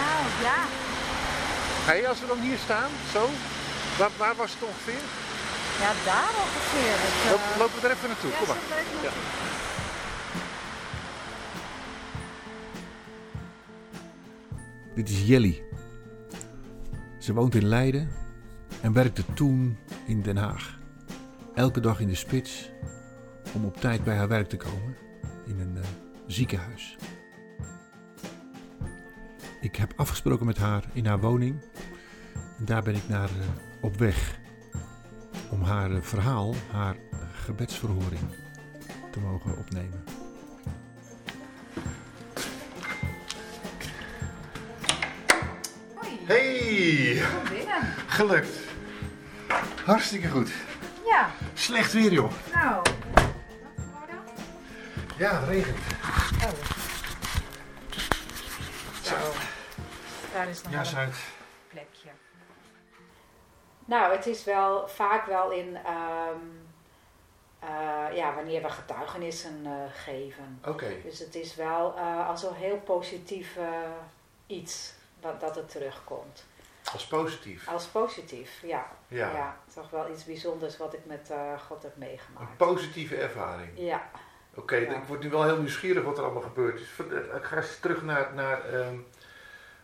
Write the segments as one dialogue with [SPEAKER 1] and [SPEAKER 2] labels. [SPEAKER 1] Nou, Ja,
[SPEAKER 2] Hé, als we dan hier staan, zo, waar, waar was het ongeveer?
[SPEAKER 1] ja daar ongeveer. Dus, eh,
[SPEAKER 2] Loop, lopen we er even naartoe,
[SPEAKER 1] ja,
[SPEAKER 2] kom
[SPEAKER 1] zo
[SPEAKER 2] maar.
[SPEAKER 1] leuk nog.
[SPEAKER 2] Ja.
[SPEAKER 3] Dit is Jelly. Ze woont in Leiden en werkte toen in Den Haag. Elke dag in de spits om op tijd bij haar werk te komen in een eh, ziekenhuis. Ik heb afgesproken met haar in haar woning en daar ben ik naar eh, op weg om haar eh, verhaal, haar gebedsverhoring te mogen opnemen.
[SPEAKER 2] Hey,
[SPEAKER 1] Kom binnen.
[SPEAKER 2] gelukt. Hartstikke goed.
[SPEAKER 1] Ja,
[SPEAKER 2] Slecht weer, joh.
[SPEAKER 1] nou.
[SPEAKER 2] Ja, het regent.
[SPEAKER 1] Zo. Daar is nog wel
[SPEAKER 2] Jas
[SPEAKER 1] een
[SPEAKER 2] uit.
[SPEAKER 1] plekje. Nou, het is wel vaak wel in ehm, eh, ja, wanneer we getuigenissen eh, geven.
[SPEAKER 2] Oké.
[SPEAKER 1] Dus het is wel eh al zo'n heel positief eh, iets dat, dat het terugkomt.
[SPEAKER 2] Als positief.
[SPEAKER 1] Als positief, ja.
[SPEAKER 2] Ja.
[SPEAKER 1] Toch wel iets bijzonders wat ik met eh, God heb
[SPEAKER 2] Een
[SPEAKER 1] meegemaakt.
[SPEAKER 2] positieve ervaring.
[SPEAKER 1] Ja,
[SPEAKER 2] Oké,
[SPEAKER 1] Ja.
[SPEAKER 2] ik word nu wel heel nieuwsgierig wat er allemaal gebeurd is. Ver- eh, Ik ga eens terug naar, naar ehm,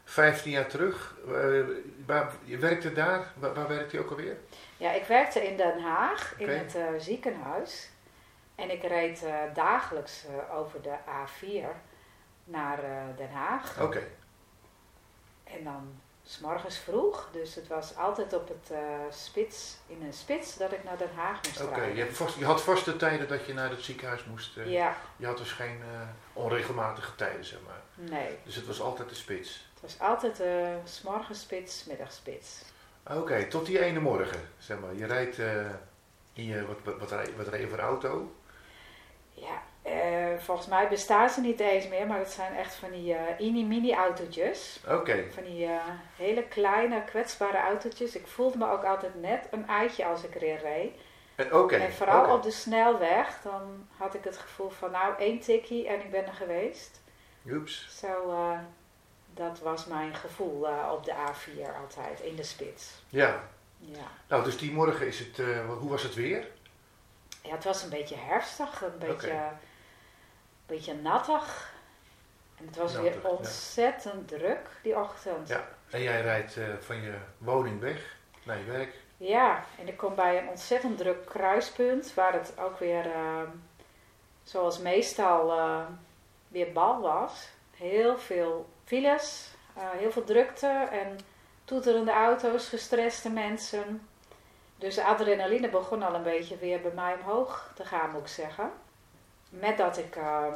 [SPEAKER 2] 15 jaar terug. Eh, waar, je werkte daar. Waar, waar werkte je ook alweer?
[SPEAKER 1] ja, ik werkte in Den Haag
[SPEAKER 2] Oké.
[SPEAKER 1] in het eh, ziekenhuis. En ik reed eh, dagelijks eh, over de A4 naar eh, Den Haag.
[SPEAKER 2] Oké.
[SPEAKER 1] En dan s'morgens vroeg. Dus het was altijd op het eh, spits, in een spits, dat ik naar Den Haag moest
[SPEAKER 2] Oké,
[SPEAKER 1] rijden.
[SPEAKER 2] je, hebt vast- je had vaste tijden dat je naar het ziekenhuis moest. eh,
[SPEAKER 1] Ja,
[SPEAKER 2] Je had dus geen eh, onregelmatige tijden, zeg maar.
[SPEAKER 1] nee.
[SPEAKER 2] Dus het was altijd de spits.
[SPEAKER 1] Het was altijd eh, 's morgens spits, middagspits.
[SPEAKER 2] Oké, tot die ene morgen, zeg maar. Je rijdt eh, in je, wat, wat, wat, rij- wat reed je voor auto?
[SPEAKER 1] Ja, eh, volgens mij bestaan ze niet eens meer, maar het zijn echt van die eh mini autootjes.
[SPEAKER 2] Oké,
[SPEAKER 1] Van die eh, hele kleine, kwetsbare autootjes. Ik voelde me ook altijd net een eitje als ik erin reed.
[SPEAKER 2] en oké.
[SPEAKER 1] en vooral
[SPEAKER 2] oké.
[SPEAKER 1] op de snelweg, dan had ik het gevoel van nou één tikkie en ik ben er geweest.
[SPEAKER 2] Oeps.
[SPEAKER 1] Zo, eh, dat was mijn gevoel eh, op de A4 altijd, in de spits.
[SPEAKER 2] Ja.
[SPEAKER 1] Ja.
[SPEAKER 2] Nou, dus die morgen is het, eh, wat- hoe was het weer?
[SPEAKER 1] Ja, het was een beetje herfstig, een beetje,
[SPEAKER 2] Oké.
[SPEAKER 1] een beetje nattig. En het was
[SPEAKER 2] Nattig, ja.
[SPEAKER 1] weer ontzettend druk die ochtend.
[SPEAKER 2] Ja. En jij rijdt eh, van je woning weg naar je werk.
[SPEAKER 1] Ja, en ik kom bij een ontzettend druk kruispunt, waar het ook weer, eh, zoals meestal, eh, weer bal was. Heel veel files, eh, heel veel drukte en toeterende auto's, gestreste mensen. Dus de adrenaline begon al een beetje weer bij mij omhoog te gaan, moet ik zeggen. Met dat ik eh,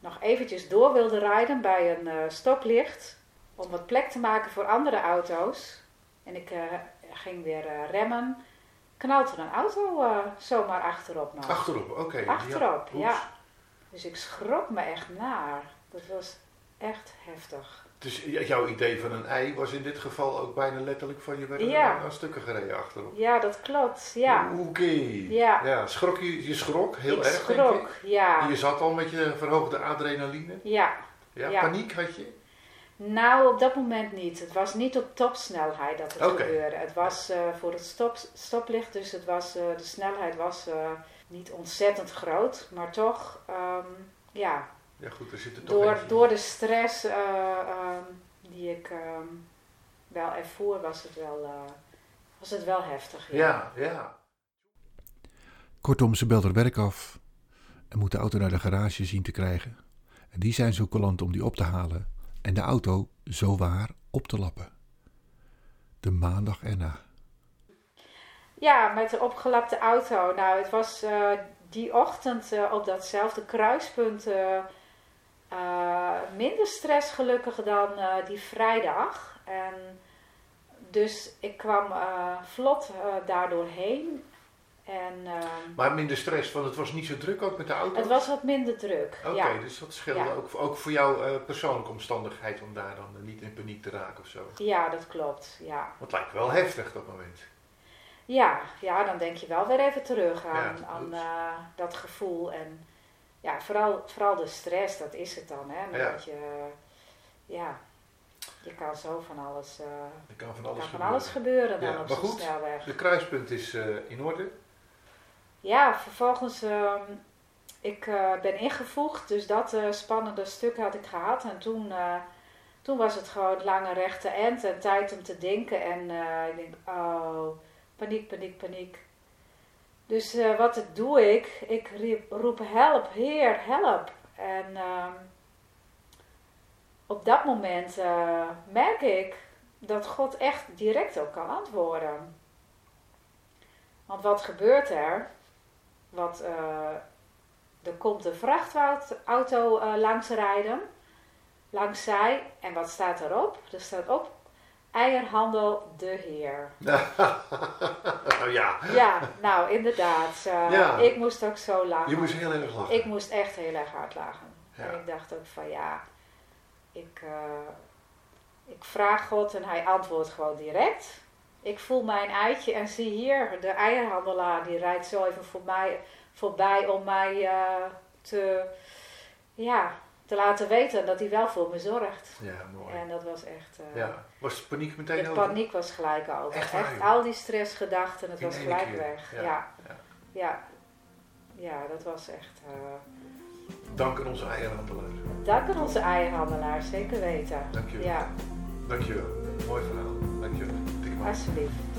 [SPEAKER 1] nog eventjes door wilde rijden bij een eh, stoplicht, om wat plek te maken voor andere auto's. En ik eh, ging weer eh, remmen. Knalt er een auto eh, zomaar achterop nog.
[SPEAKER 2] Achterop, oké. Die had-
[SPEAKER 1] Achterop,
[SPEAKER 2] oeps.
[SPEAKER 1] ja. Dus ik schrok me echt naar. Dat was echt heftig.
[SPEAKER 2] Dus j- jouw idee van een ei was in dit geval ook bijna letterlijk van je werk
[SPEAKER 1] Ja.
[SPEAKER 2] aan stukken gereden achterop.
[SPEAKER 1] Ja, dat klopt. Ja.
[SPEAKER 2] Oké.
[SPEAKER 1] Ja.
[SPEAKER 2] schrok je, je schrok heel
[SPEAKER 1] ik
[SPEAKER 2] erg, denk ik.
[SPEAKER 1] schrok, ja.
[SPEAKER 2] En Je zat al met je verhoogde adrenaline.
[SPEAKER 1] Ja.
[SPEAKER 2] Ja,
[SPEAKER 1] Ja.
[SPEAKER 2] paniek had je.
[SPEAKER 1] Nou, op dat moment niet. Het was niet op topsnelheid dat het
[SPEAKER 2] Oké.
[SPEAKER 1] gebeurde. Het was eh, voor het stop, stoplicht, dus het was, eh, de snelheid was eh, niet ontzettend groot. Maar toch, ehm, ja,
[SPEAKER 2] Ja, goed, er zit er toch
[SPEAKER 1] door,
[SPEAKER 2] eentje.
[SPEAKER 1] door de stress eh, ehm, die ik ehm, wel ervoor, was het wel, eh, was het wel heftig.
[SPEAKER 2] Ja, ja.
[SPEAKER 3] Kortom, ze belt haar werk af en moet de auto naar de garage zien te krijgen. En die zijn zo coulant om die op te halen en de auto zo waar op te lappen. De maandag erna.
[SPEAKER 1] Ja, met de opgelapte auto. Nou, het was eh, die ochtend eh, op datzelfde kruispunt eh, eh, minder stress gelukkig dan eh, die vrijdag. En dus ik kwam eh, vlot eh daardoor heen. En ehm,
[SPEAKER 2] Maar minder stress, want het was niet zo druk ook met de auto.
[SPEAKER 1] het was wat minder druk.
[SPEAKER 2] Oké,
[SPEAKER 1] ja.
[SPEAKER 2] dus dat scheelde
[SPEAKER 1] Ja.
[SPEAKER 2] ook, ook voor jouw eh, persoonlijke omstandigheid om daar dan eh, niet in paniek te raken of zo. Want
[SPEAKER 1] ja, dat klopt. Ja.
[SPEAKER 2] het lijkt wel heftig dat moment.
[SPEAKER 1] Ja, ja, dan denk je wel weer even terug aan,
[SPEAKER 2] Ja,
[SPEAKER 1] aan
[SPEAKER 2] dat-
[SPEAKER 1] eh, dat gevoel. En ja, vooral, vooral de stress, dat is het dan. Hè?
[SPEAKER 2] Ja.
[SPEAKER 1] Dat je, eh, ja, Je kan zo van alles, eh,
[SPEAKER 2] Er kan van
[SPEAKER 1] kan
[SPEAKER 2] alles
[SPEAKER 1] van
[SPEAKER 2] gebeuren.
[SPEAKER 1] alles gebeuren dan
[SPEAKER 2] Ja,
[SPEAKER 1] op
[SPEAKER 2] maar
[SPEAKER 1] zo'n
[SPEAKER 2] goed.
[SPEAKER 1] snelweg.
[SPEAKER 2] De kruispunt is eh, in orde.
[SPEAKER 1] Ja, vervolgens, ehm, ik eh, ben ingevoegd, dus dat eh, spannende stuk had ik gehad. En toen, eh, toen was het gewoon lange rechte end en tijd om te denken. En eh, ik denk, oh, paniek, paniek, paniek. Dus eh, wat doe ik? Ik riep, roep help, heer, help. En ehm, op dat moment eh, merk ik dat God echt direct ook kan antwoorden. Want wat gebeurt er? Wat, eh, er komt een vrachtauto eh langs rijden, langs zij. En wat staat erop? Er staat op, eierhandel de heer.
[SPEAKER 2] nou ja,
[SPEAKER 1] Ja, nou inderdaad. eh,
[SPEAKER 2] Ja.
[SPEAKER 1] Ik moest ook zo lachen.
[SPEAKER 2] je moest heel erg lachen.
[SPEAKER 1] Ik moest echt heel erg hard lachen.
[SPEAKER 2] Ja.
[SPEAKER 1] En ik dacht ook van ja, ik, eh, ik vraag God en hij antwoordt gewoon direct. Ik voel mijn eitje en zie hier de eierhandelaar die rijdt zo even voor mij, voorbij om mij eh, te, ja, te laten weten dat hij wel voor me zorgt.
[SPEAKER 2] Ja, mooi.
[SPEAKER 1] En dat was echt. eh,
[SPEAKER 2] ja. Was de paniek meteen
[SPEAKER 1] De
[SPEAKER 2] over?
[SPEAKER 1] paniek was gelijk over. Echt,
[SPEAKER 2] Echt waar, joh.
[SPEAKER 1] al die stressgedachten, het
[SPEAKER 2] In
[SPEAKER 1] was
[SPEAKER 2] één
[SPEAKER 1] gelijk
[SPEAKER 2] keer,
[SPEAKER 1] weg.
[SPEAKER 2] ja,
[SPEAKER 1] Ja. Ja.
[SPEAKER 2] ja.
[SPEAKER 1] ja. dat was echt. eh,
[SPEAKER 2] Dank aan onze eierhandelaar.
[SPEAKER 1] Dank aan onze eierhandelaar, zeker weten.
[SPEAKER 2] Dank je.
[SPEAKER 1] Ja,
[SPEAKER 2] Dankjewel. Mooi verhaal. Dankjewel. Tik maar.
[SPEAKER 1] alsjeblieft.